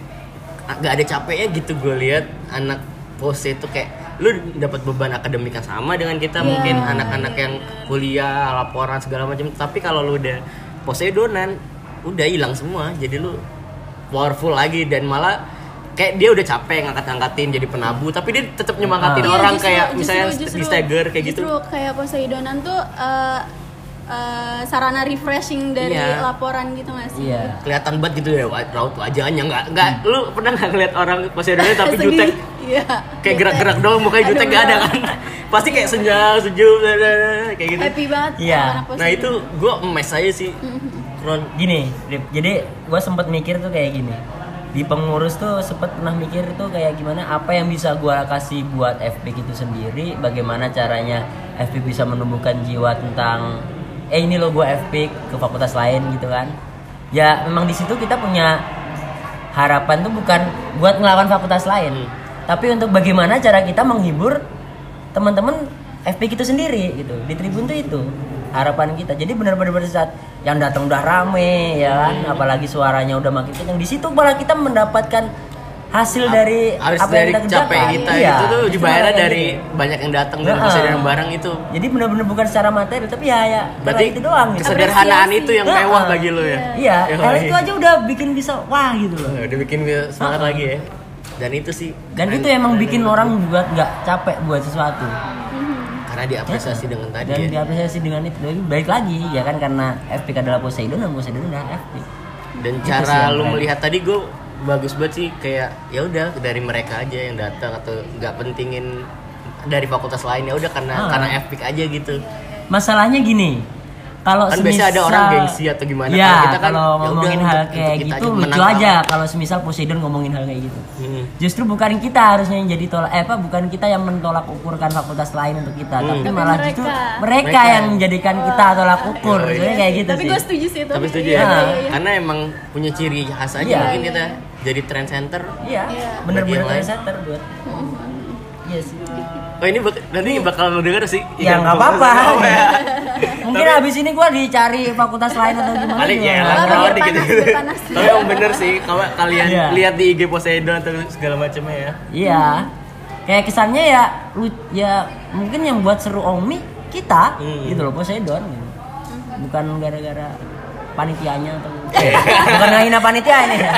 nggak ada capeknya gitu gue lihat anak pose itu kayak lu dapat beban akademik yang sama dengan kita
Iya.
mungkin anak-anak yang kuliah laporan segala macam tapi kalau lu udah pose donan udah hilang semua jadi lu powerful lagi dan malah kayak dia udah capek ngangkat-ngangkatin jadi penabu tapi dia tetap nyemangatin
Iya,
orang
justru-
kayak
justru-
misalnya
justru-
di stagger kayak gitu
justru kayak Poseidonan tuh eh, eh, sarana refreshing dari
Iya.
laporan gitu nggak sih?
Iya.
kelihatan banget gitu ya wa- raut wajahnya nggak nggak lu pernah nggak ngeliat orang poseidonnya Eh, tapi
Sedih.
jutek
Iya.
kayak gerak-gerak doang mukanya jutek
Aduh,
gak ada
iya.
kan pasti kayak senja sejuk kayak gitu
Happy banget
Iya.
anak
nah
Poseidon.
itu gue emes aja sih Ron
gini Rip. jadi gue sempet mikir tuh kayak gini di pengurus tuh sempet pernah mikir tuh kayak gimana apa yang bisa gua kasih buat FP itu sendiri bagaimana caranya FP bisa menumbuhkan jiwa tentang eh ini lo gua FP ke fakultas lain gitu kan ya memang di situ kita punya harapan tuh bukan buat ngelawan fakultas lain
Hmm.
tapi untuk bagaimana cara kita menghibur teman-teman FP kita sendiri gitu di tribun tuh itu harapan kita jadi benar-benar pada saat yang datang udah rame ya kan
Hmm.
apalagi suaranya udah makin kencang di situ malah kita mendapatkan hasil dari
harus
Iya, apa
dari
yang kita
capek
kerjakan.
kita
Iya,
itu tuh
justru
dibayarnya
kayak
dari
gitu.
banyak yang datang dari
Nah.
poseidon bareng itu
jadi benar-benar bukan secara materi tapi ya ya
berarti
lewat itu doang gitu.
kesederhanaan itu yang
Nah.
mewah bagi lu ya
iya
Yoi.
kalau itu aja udah bikin bisa wah gitu loh
udah bikin gue semangat lagi ya dan itu sih
dan
kan keren-
itu emang
keren
bikin
banget.
orang juga nggak capek buat sesuatu
karena diapresiasi dengan tadi
dan
ya.
diapresiasi dengan itu Tapi baik lagi ya kan karena FPK adalah Poseidon dan Poseidon adalah FP
dan
Itu sih
cara
yang
lu
keren.
melihat tadi gue bagus banget sih kayak ya udah dari mereka aja yang datang atau nggak pentingin dari fakultas lain ya udah
Ah.
karena karena epic aja gitu
masalahnya gini kalau
Kan biasanya
semisal
ada orang gengsi atau gimana,
ya, kalau
kalau kita kan, ya udah,
ngomongin
ini
hal
untuk-
kayak
untuk kita
gitu
aja,
lucu
menang
aja kalau semisal Poseidon ngomongin hal kayak gitu
Hmm.
justru bukan kita harusnya yang jadi tolak eh apa bukan kita yang mentolak ukurkan fakultas lain untuk kita
Hmm.
tapi
Tapi
malah
mereka. Oh.
justru mereka,
Mereka. Iya,
yang menjadikan kita tolak ukur
Yoi.
Sebenarnya kayak gitu
Tapi
sih
gue setuju sih itu.
tapi setuju
Iya,
ya
iya,
iya.
karena emang punya ciri khas aja
Iya.
mungkin
Iya,
kita
iya.
jadi trend center
iya
Iya.
bener-bener
Bagi yang lain.
center buat Iya sih.
oh ini bak- nanti bakal lu denger sih
Ya
Yang
nggak
bagus.
apa-apa.
Oh, ya.
Mungkin habis ini gua dicari fakultas lain atau gimana?
Kali ya,
gimana.
Apa, biar
kalau dikit.
panas, biar panas.
Tapi emang bener sih, kalau kalian
Iya.
lihat di IG Poseidon atau segala macamnya ya.
Iya. Kayak kesannya ya lu ya mungkin yang buat seru Omi kita
Hmm.
gitu loh Poseidon gitu. Bukan gara-gara panitianya atau bukan ngehina panitia ini.
Eh.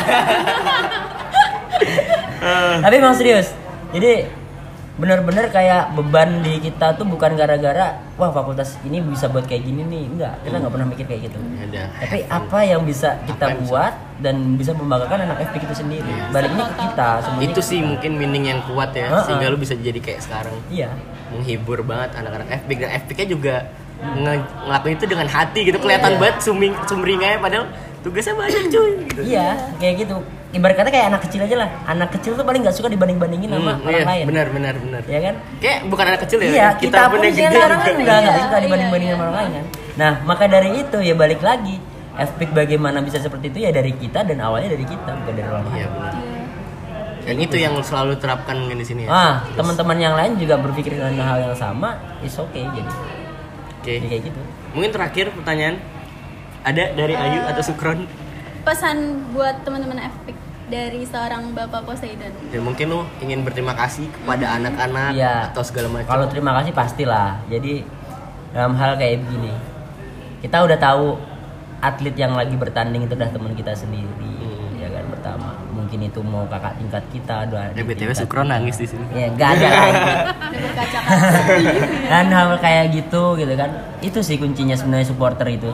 Tapi emang serius. Jadi bener-bener kayak beban di kita tuh bukan gara-gara wah fakultas ini bisa buat kayak gini nih enggak kita
Hmm.
nggak pernah mikir kayak gitu
Ya udah.
tapi apa yang bisa kita
yang bisa- Iya.
buat dan bisa membanggakan anak FP itu sendiri baliknya ke kita semuanya
itu
ke
sih
kita.
mungkin meaning yang kuat ya
Heeh.
sehingga lu bisa jadi kayak sekarang
iya
menghibur banget anak-anak FPIK dan FPIK juga nge- ngelakuin itu dengan hati gitu kelihatan
Iya.
banget suming sumringahnya padahal tugasnya banyak cuy gitu
iya kayak gitu ibarat kata kayak anak kecil aja lah anak kecil tuh paling nggak suka dibanding bandingin
Hmm,
sama orang
iya,
lain
benar benar benar
ya kan
kayak bukan anak kecil ya
iya kita,
pun
pun
yang
sih
gede
sekarang kan
juga.
nggak nggak
Iya,
suka dibanding bandingin
iya,
sama orang lain kan nah maka dari itu ya balik lagi FP bagaimana bisa seperti itu ya dari kita dan awalnya dari kita bukan dari orang lain
iya benar dan itu yang selalu terapkan mungkin di sini ya oke
ah teman-teman yang lain juga berpikir dengan hal yang sama is okay jadi jadi kayak gitu
mungkin terakhir pertanyaan ada dari Ayu atau Sukron
Pesan buat teman-teman Epic dari seorang Bapak Poseidon.
dan Ya, mungkin lu ingin berterima kasih kepada anak-anak
Iya.
atau segala macam
Kalau terima kasih pastilah. Jadi dalam hal kayak begini, kita udah tahu atlet yang lagi bertanding itu udah teman kita sendiri, ya kan pertama. Mungkin itu mau kakak tingkat kita, doa.
Eh, BTW Sukron nangis di sini.
Ya nggak ada lagi.
Udah berkaca-kaca.
kan hal kayak gitu gitu kan. Itu sih kuncinya sebenarnya supporter itu.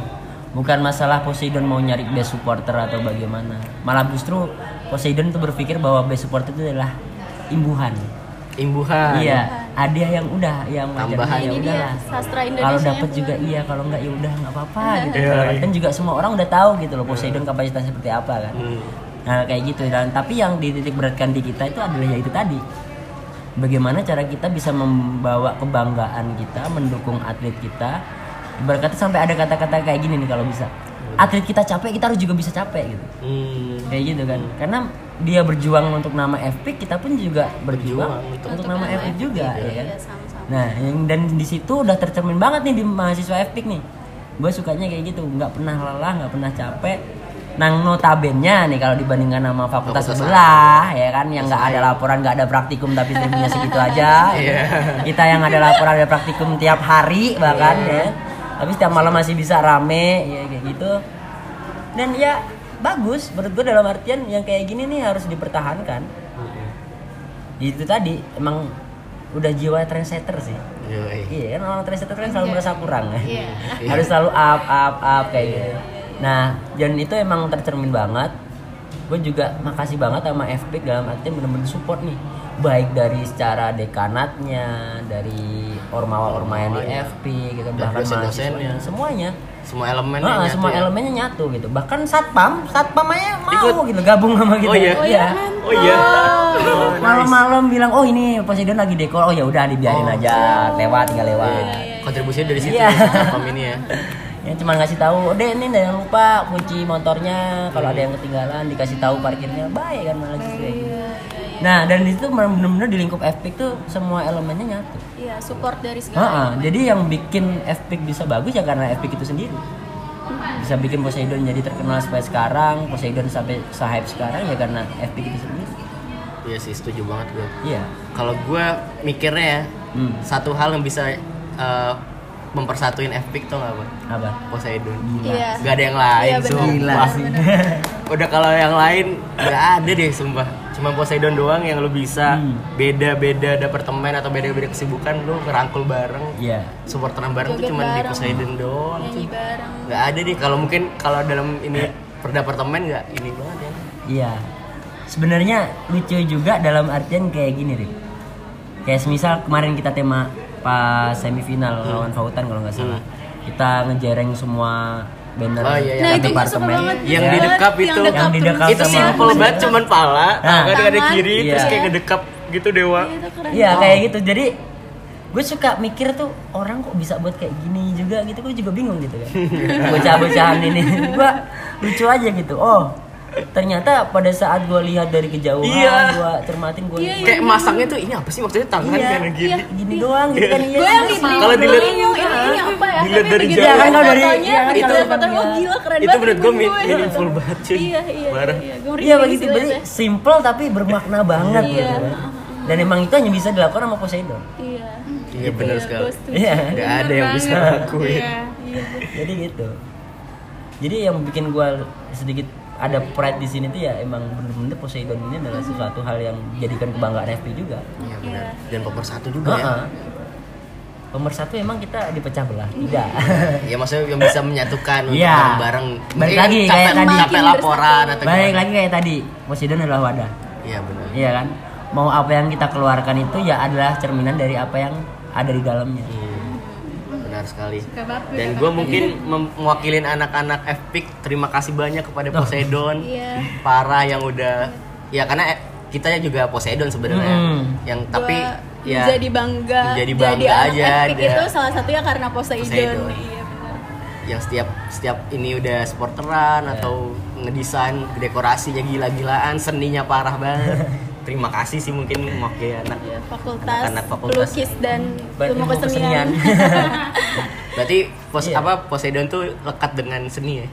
Bukan masalah Poseidon mau nyari best supporter atau bagaimana. Malah justru Poseidon tuh berpikir bahwa best supporter itu adalah imbuhan.
Imbuhan.
Iya, hadiah yang udah yang macam
Tambahan.
ya
Ini
udah
dia,
lah.
sastra
Kalau
Indonesianya
dapat
keluar.
juga iya, kalau enggak ya udah nggak apa-apa gitu.
Iya, iya.
Dan juga semua orang udah tahu gitu loh Poseidon kapasitasnya seperti apa kan.
Hmm.
Nah, kayak gitu dan tapi yang dititik beratkan di kita itu adalah ya itu tadi. bagaimana cara kita bisa membawa kebanggaan kita, mendukung atlet kita. Ibarat kata sampai ada kata-kata kayak gini nih kalau bisa.
Iya.
Atlet kita capek, kita harus juga bisa capek gitu.
Hmm.
Kayak gitu kan. Karena dia berjuang untuk nama FP, kita pun juga berjuang,
Berjuang,
untuk, nama FP juga ya. kan?
Iya, sama-sama.
Nah, yang dan di situ udah tercermin banget nih di mahasiswa FPIK nih. Gue sukanya kayak gitu, nggak pernah lelah, nggak pernah capek. Nang notabennya nih kalau dibandingkan sama fakultas
Fakultas
sebelah ya kan yang nggak ada laporan, nggak ada praktikum tapi skripsinya segitu aja.
Iya.
Kita yang ada laporan ada praktikum tiap hari bahkan ya. Tapi setiap malam masih bisa rame ya kayak gitu. Dan ya bagus menurut gue dalam artian yang kayak gini nih harus dipertahankan.
Hmm.
Itu tadi emang udah jiwa trendsetter sih.
Yoi.
Iya kan orang trendsetter kan selalu merasa kurang ya.
Iya.
Harus selalu up up up kayak gitu. Nah, dan itu emang tercermin banget. Gue juga makasih banget sama FP dalam artian bener-bener support nih. Baik dari secara dekanatnya, dari ormawa-orma yang di
Ormawanya.
FP gitu,
Dan
bahkan
dosen-dosennya. ya.
mahasiswanya, semuanya.
Semua elemen
Ah, semua elemennya nyatu gitu. Bahkan satpam, satpam aja mau
Ikut.
gitu gabung sama kita.
Oh iya?
Iya.
Oh iya. Oh, nice.
Malam-malam bilang, "Oh, ini Poseidon lagi dekor." Oh ya udah dibiarin
Oh. Iya.
aja, lewat tinggal lewat.
Kontribusinya dari situ
Iya.
platform ini ya.
ya cuma ngasih tahu deh ini jangan lupa kunci motornya kalau ada yang ketinggalan dikasih tahu parkirnya Hmm. baik kan malah gitu ya. nah dan itu benar-benar di lingkup FPIC tuh semua elemennya nyatu
Iya, support dari
Ha-ha,
segala.
jadi yang bikin FPIC bisa bagus ya karena FPIC itu sendiri bisa bikin Poseidon jadi terkenal sampai sekarang Poseidon sampai hype sekarang ya karena FPIC itu sendiri
Iya sih setuju banget gue.
iya
Kalau gue mikirnya ya
Hmm.
satu hal yang bisa eh, mempersatuin FPIC tuh nggak apa?
apa
Poseidon.
Iya.
Gak ada yang lain.
Iya, benar.
sumpah.
Gila sih.
Udah kalau yang lain nggak ada deh sumpah. Cuma Poseidon doang yang lu bisa
Hmm.
beda-beda departemen atau beda-beda kesibukan lu ngerangkul bareng.
iya
Supporteran bareng
Joget
tuh cuman di
bareng. Iya,
Poseidon doang.
Nyanyi
cuy.
bareng.
nggak ada deh kalau mungkin kalau dalam ini per departemen nggak ini banget ya
Iya. Sebenarnya lucu juga dalam artian kayak gini, Rik. Kayak semisal kemarin kita tema pas semifinal
Hmm.
lawan Fautan kalau nggak salah. Kita ngejereng semua banner
Oh, iya, iya.
Nah, itu gue suka
departemen.
banget.
Yang
Ya.
di dekap
Yang
itu.
Yang di dekap
itu
sama-
simple banget cuman pala
Nah.
tangan ada
Tangan.
kiri
Iya.
terus kayak ngedekap gitu dewa
Iya, itu keren.
Iya, kayak gitu. Jadi gue suka mikir tuh orang kok bisa buat kayak gini juga gitu gue juga bingung gitu kan bocah-bocahan ini gue lucu aja gitu oh ternyata pada saat gue lihat dari kejauhan
Iya.
gue cermatin gue
Iya,
kayak masangnya tuh ini apa sih maksudnya tangan
Iya,
kayak gini
iya.
gini doang gitu kan iya
Gue yang di
terus
Kalau dilihat-
ini, ini apa ya?
dilihat
Tapi
dari
begitu
jauh.
lihat
Iya, kan kalau dari-
fotonya,
iya, kan
begitu
kalau
lihat
dari
fotonya, wah
jauh.
gila keren
Itu
banget
menurut
nih
gue
bun
mi- meaningful
gitu.
banget, cuy.
Iya, iya,
Parah.
iya. Gue
Iya
merinding
begitu,
sih
berarti
liatnya.
simple tapi bermakna banget gitu. kan. Dan emang itu hanya bisa dilakukan sama Poseidon.
Iya.
iya benar sekali
Gue setuju.
Iya.
nggak ada yang bisa ngakuin
Iya.
Jadi gitu. Jadi yang bikin gua sedikit ada pride di sini tuh ya emang bener-bener Poseidon ini adalah
Mm-hmm.
sesuatu hal yang dijadikan kebanggaan FP juga.
iya benar dan pemersatu juga ya
Heeh. Pemersatu emang kita dipecah belah,
Iya.
tidak.
ya maksudnya yang bisa menyatukan untuk
Iya.
bareng Eh,
Balik lagi,
capek,
kayak tadi.
capek laporan atau
Iya.
Baik
gimana.
lagi kayak tadi, Poseidon adalah wadah.
iya benar
Iya kan? Mau apa yang kita keluarkan itu ya adalah cerminan dari apa yang ada di dalamnya.
Hmm, benar sekali
Suka banget gue
dan
kata
gue mungkin mem- mewakilin anak-anak FPIC terima kasih banyak kepada Poseidon
Iya.
Parah yang udah ya karena eh, kita juga Poseidon sebenarnya
Mm.
yang tapi
Gua
ya
jadi bangga.
jadi bangga
anak
aja,
epic
ada-
itu salah satunya karena Poseidon.
Poseidon.
Iya benar.
yang setiap setiap ini udah supporteran atau ngedesain dekorasinya gila-gilaan seninya parah banget terima kasih sih mungkin mewakili anak
Iya, fakultas,
Anak-anak fakultas.
lukis dan
Ba-
ilmu
ilmu
kesenian.
berarti pos
Iya.
apa Poseidon tuh lekat dengan seni ya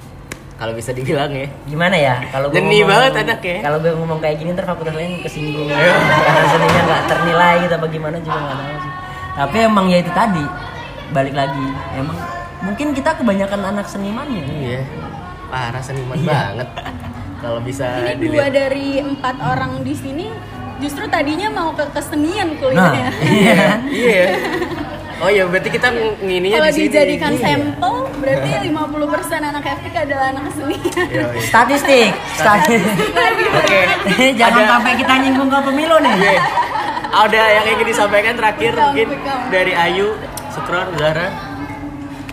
kalau bisa dibilang ya
gimana ya kalau gua
Jernih
ngomong-
banget anak ya. Iya.
kalau gue ngomong kayak gini ntar fakultas lain kesinggung karena seninya nggak ternilai gitu apa gimana juga nggak tahu sih tapi emang ya itu tadi balik lagi emang mungkin kita kebanyakan anak seniman ya
iya parah seniman
Iya.
banget kalau bisa
Ini dua
dilihat
dari empat orang di sini justru tadinya mau ke kesenian
nah
kuliahnya.
iya kan?
iya oh iya berarti kita ng- ngininya
Kalau
di sini
dijadikan
Iya.
sampel, berarti 50% anak FPK adalah anak kesenian.
Iya, iya.
statistik statistik
oke
jangan
Ada- Iya,
sampai kita nyinggung ke pemilu nih
Oke. ada yang ingin disampaikan terakhir mungkin dari Ayu Sukron Zara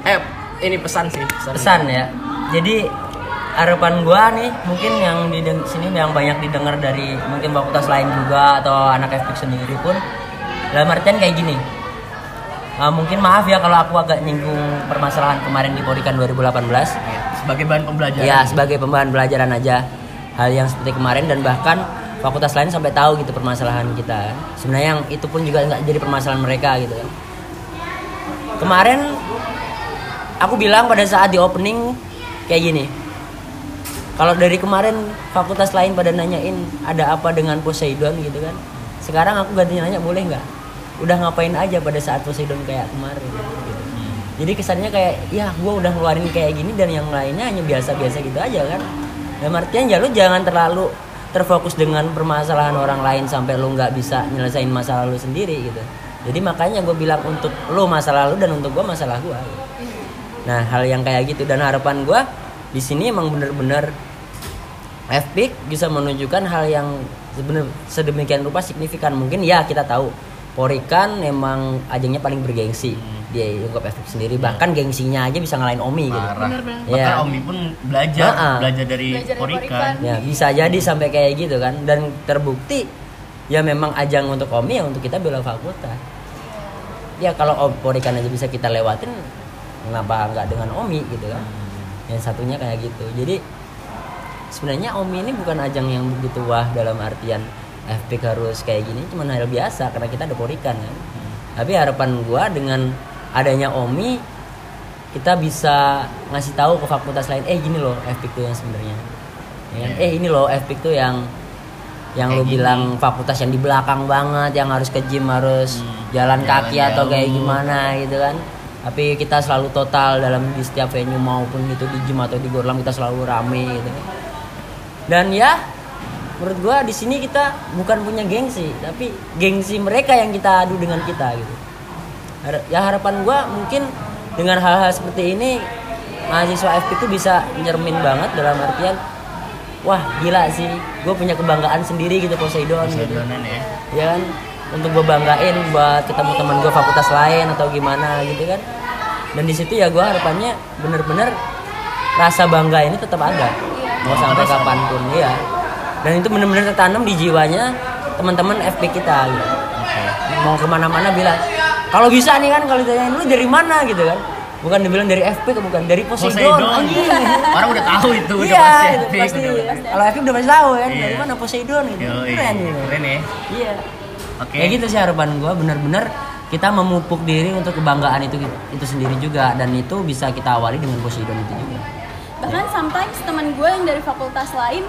eh ini pesan sih pesan,
pesan ya jadi harapan gua nih mungkin yang di deng- sini yang banyak didengar dari mungkin fakultas lain juga atau anak FPIC sendiri pun dalam artian kayak gini Eh, mungkin maaf ya kalau aku agak nyinggung permasalahan kemarin di kan Porikan 2018
sebagai bahan pembelajaran
Ya sebagai pembahan pelajaran aja hal yang seperti kemarin dan bahkan fakultas lain sampai tahu gitu permasalahan kita. Sebenarnya yang itu pun juga nggak jadi permasalahan mereka gitu kan. Kemarin aku bilang pada saat di opening kayak gini. Kalau dari kemarin fakultas lain pada nanyain ada apa dengan Poseidon gitu kan. Sekarang aku gantinya nanya boleh nggak? Udah ngapain aja pada saat Poseidon kayak kemarin. Gitu jadi kesannya kayak ya gue udah ngeluarin kayak gini dan yang lainnya hanya biasa-biasa gitu aja kan dan artian ya lu jangan terlalu terfokus dengan permasalahan orang lain sampai lu nggak bisa nyelesain masalah lu sendiri gitu jadi makanya gue bilang untuk lu masalah lu dan untuk gue masalah gue nah hal yang kayak gitu dan harapan gue di sini emang bener-bener FPIC bisa menunjukkan hal yang sebenar sedemikian rupa signifikan mungkin ya kita tahu Polri kan emang ajangnya paling bergengsi dia ungkap FPIC sendiri bahkan gengsinya aja bisa ngalahin Omi gitu
parah
Bener-bener.
bahkan
Iya.
Omi pun belajar
Ha-ha.
belajar dari
Belajar dari
Porikan
Porikan.
ya bisa jadi sampai kayak gitu kan dan terbukti ya memang ajang untuk Omi ya untuk kita bela fakultas ya kalau Om- Polri kan aja bisa kita lewatin kenapa nggak dengan Omi gitu kan yang satunya kayak gitu jadi sebenarnya Omi ini bukan ajang yang begitu wah dalam artian FPK harus kayak gini cuman hal biasa karena kita ada porikan kan tapi harapan gua dengan adanya Omi kita bisa ngasih tahu ke fakultas lain eh gini loh FPK tuh yang sebenarnya Ya kan? eh ini loh FPK tuh yang yang lu
Iya. Kayak gini.
bilang fakultas yang di belakang banget yang harus ke gym harus
Hmm.
jalan,
Jalan
kaki atau
jauh.
kayak gimana gitu kan tapi kita selalu total dalam di setiap venue maupun itu di gym atau di gorlam kita selalu rame gitu kan dan ya menurut gua di sini kita bukan punya gengsi tapi gengsi mereka yang kita adu dengan kita gitu Har- ya harapan gua mungkin dengan hal-hal seperti ini mahasiswa FP itu bisa nyermin banget dalam artian wah gila sih gue punya kebanggaan sendiri gitu Poseidon gitu
Kesedonan ya
ya kan untuk gue banggain buat ketemu teman gue fakultas lain atau gimana gitu kan dan di situ ya gue harapannya bener-bener rasa bangga ini tetap ada
Iya.
mau sampai kapanpun ya dan itu bener-bener tertanam di jiwanya teman-teman FP kita gitu. mau kemana-mana bilang kalau bisa nih kan kalau ditanyain lu dari mana gitu kan bukan dibilang dari FP bukan dari Poseidon,
Poseidon Iya.
anjing.
orang udah tahu itu udah
iya
pasti
itu
Epic,
pasti
udah
kalau FP udah pasti tahu kan
Iya.
dari mana Poseidon gitu
Yoi.
keren gitu.
keren ya
iya
oke
Kayak gitu sih harapan gue bener-bener kita memupuk diri untuk kebanggaan itu itu sendiri juga dan itu bisa kita awali dengan Poseidon itu juga.
bahkan sometimes teman gue yang dari fakultas lain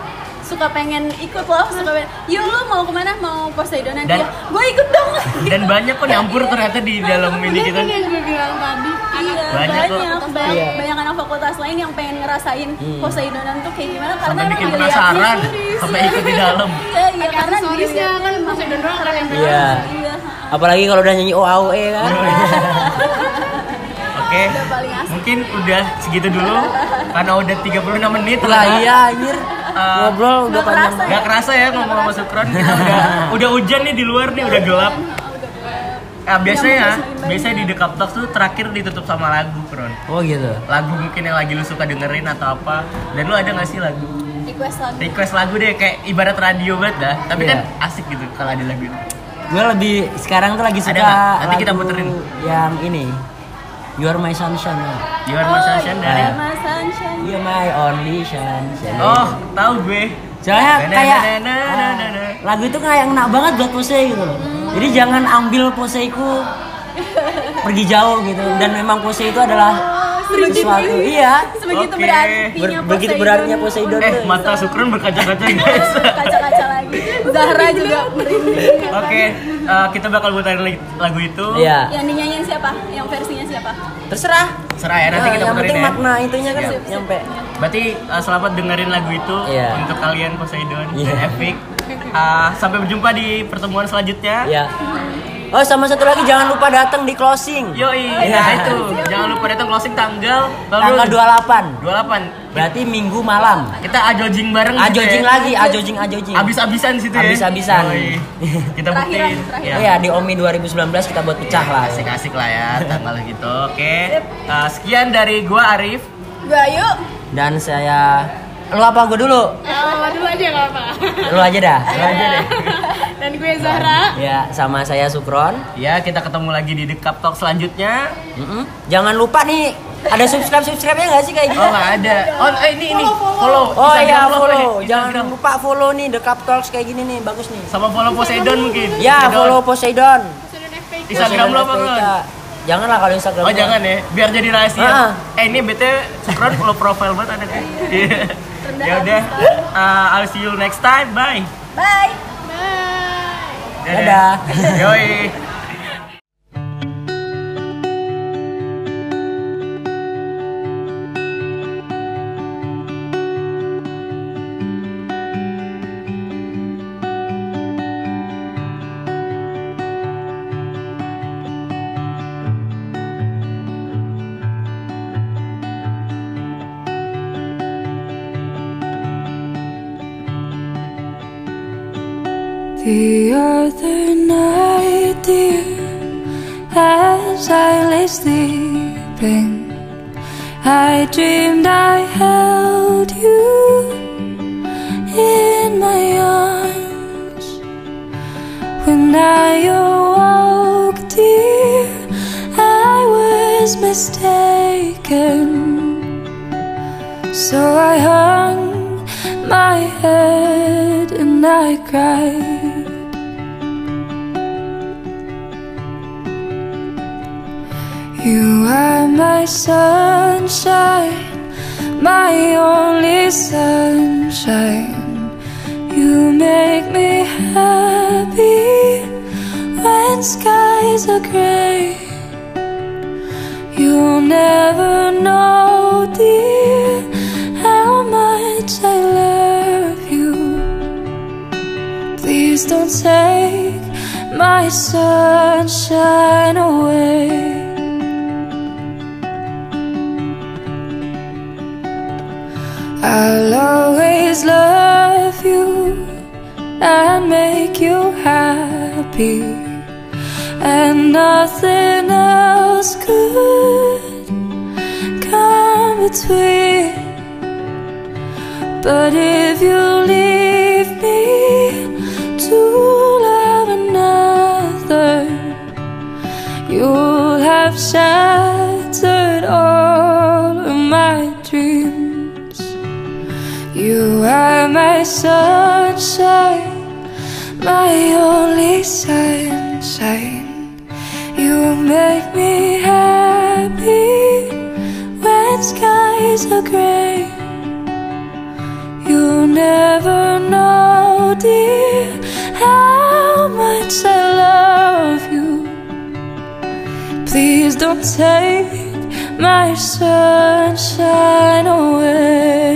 suka pengen ikut loh suka pengen yuk lu mau kemana mau Poseidonan
Dan-
dia gue ikut dong
dan banyak kok nyampur ternyata di dalam ini gitu
kan yang gue bilang tadi
Banyak
Iya, banyak,
kok. Hmm.
banyak,
Iya.
banyak anak fakultas lain yang pengen ngerasain Poseidonan tuh kayak gimana karena
sampai
emang
bikin
dilihatnya
penasaran
sendiri
sampai
sih.
ikut di dalam
Iya, iya,
Pakai
karena
aksesorisnya
dilihatnya
kan
emang-
Poseidon doang orang yang bilang.
Iya.
Iya,
Apalagi kalau udah nyanyi OAOE kan.
oke
paling asik.
mungkin udah segitu dulu karena udah 36 menit
Lah
ternyata.
iya anjir. Ngobrol udah panjang.
nggak kerasa.
Gak kerasa ya ngomong sama Sukron kita udah udah hujan nih di luar nih udah gelap.
oh,
Nah,
Iya,
biasanya
ya.
biasanya di Dekap Talks tuh terakhir ditutup sama lagu, Kron.
Oh gitu.
Lagu mungkin yang lagi lu suka dengerin atau apa. Dan lu ada gak sih lagu?
request lagu
Request lagu deh kayak ibarat radio banget dah. Tapi
Iya.
kan asik gitu kalau ada lagu itu.
Gue lebih sekarang tuh lagi
Ada
suka
nggak? Nanti kita
lagu
puterin.
yang ini. You are my sunshine.
You are my sunshine ya. dari
iya.
Oh, Mas Sunshine
You are my only sunshine.
Oh, tahu gue.
Soalnya
Na, na,
kayak
na, na, na, na, na.
ah, lagu itu kayak ngena banget buat pose gitu loh. Jadi jangan ambil poseku pergi jauh gitu dan memang pose itu adalah
Oh, Sebegitu-
sesuatu iya
sebegitu
Oke.
berartinya
Ber- begitu berartinya Poseidon
Eh,
tuh.
mata Sukron berkaca-kaca guys.
kaca-kaca lagi Zahra juga merinding
Oke, eh, kita bakal puterin li- lagu itu.
Iya.
yang dinyanyiin siapa yang versinya siapa
Terserah.
Serah ya, nanti
Nah,
kita
yang
puterin
penting
ya.
makna itunya kan
Siap.
nyampe.
Berarti uh, selamat dengerin lagu itu
Iya.
untuk kalian Poseidon dan
Iya.
Epic. Uh, sampai berjumpa di pertemuan selanjutnya.
Ya. Oh, sama satu lagi jangan lupa datang di closing.
Yoi,
Iya.
nah itu. Jangan lupa datang closing tanggal
Tanggal 28.
28.
Berarti Minggu malam.
Kita ajojing bareng gitu
Ajojing
ya.
lagi, ajojing ajojing.
Abis-abisan di situ ya.
Abis-abisan.
Yoi. Kita buktiin.
Terakhiran, terakhiran.
Oh
Ya.
ya, di Omi 2019 kita buat pecah lah.
Asik-asik lah ya tanggal gitu. Oke. Uh, sekian dari gua Arif.
gue yuk
Dan saya lu apa gue dulu?
Eh, dulu aja gak apa-apa.
Iya.
Lu aja dah.
Dan dan gue Zahra.
Ya, sama saya Sukron.
Ya, kita ketemu lagi di Dekap Talk selanjutnya.
Mm-mm. Jangan lupa nih, ada subscribe-subscribe-nya nggak sih kayak
Oh,
gitu?
nggak ada. Oh, eh, ini ini. Follow.
Oh
Instagram
iya,
follow.
follow.
Instagram.
Jangan lupa follow nih The Cup Talks kayak gini nih, bagus nih.
Sama follow Poseidon mungkin.
Ya,
Poseidon.
follow Poseidon.
Sudah FPK.
Instagram lo apa,
Poseidon Iya.
Ron?
FPK. Janganlah kalau Instagram.
Oh
gua.
jangan ya, biar jadi rahasia.
Ah.
Eh ini BTW Sukron follow profile banget anaknya.
Rendah
Ya udah, uh, I'll see you next time. Bye.
Bye.
Bye.
Dadah.
Yoi.
The other night, dear, as I lay sleeping, I dreamed I held you in my arms. When I awoke, dear, I was mistaken. So I hung my head and I cried. You are my sunshine, my only sunshine. You make me happy when skies are gray. You'll never know, dear, how much I love you. Please don't take my sunshine away. I'll always love you and make you happy and nothing else could come between. But if you leave me to love another, you'll have shattered all of my dreams. You are my sunshine my only sunshine. You make me happy when skies are gray. You'll never know, dear, how much I love you. Please don't take my sunshine away.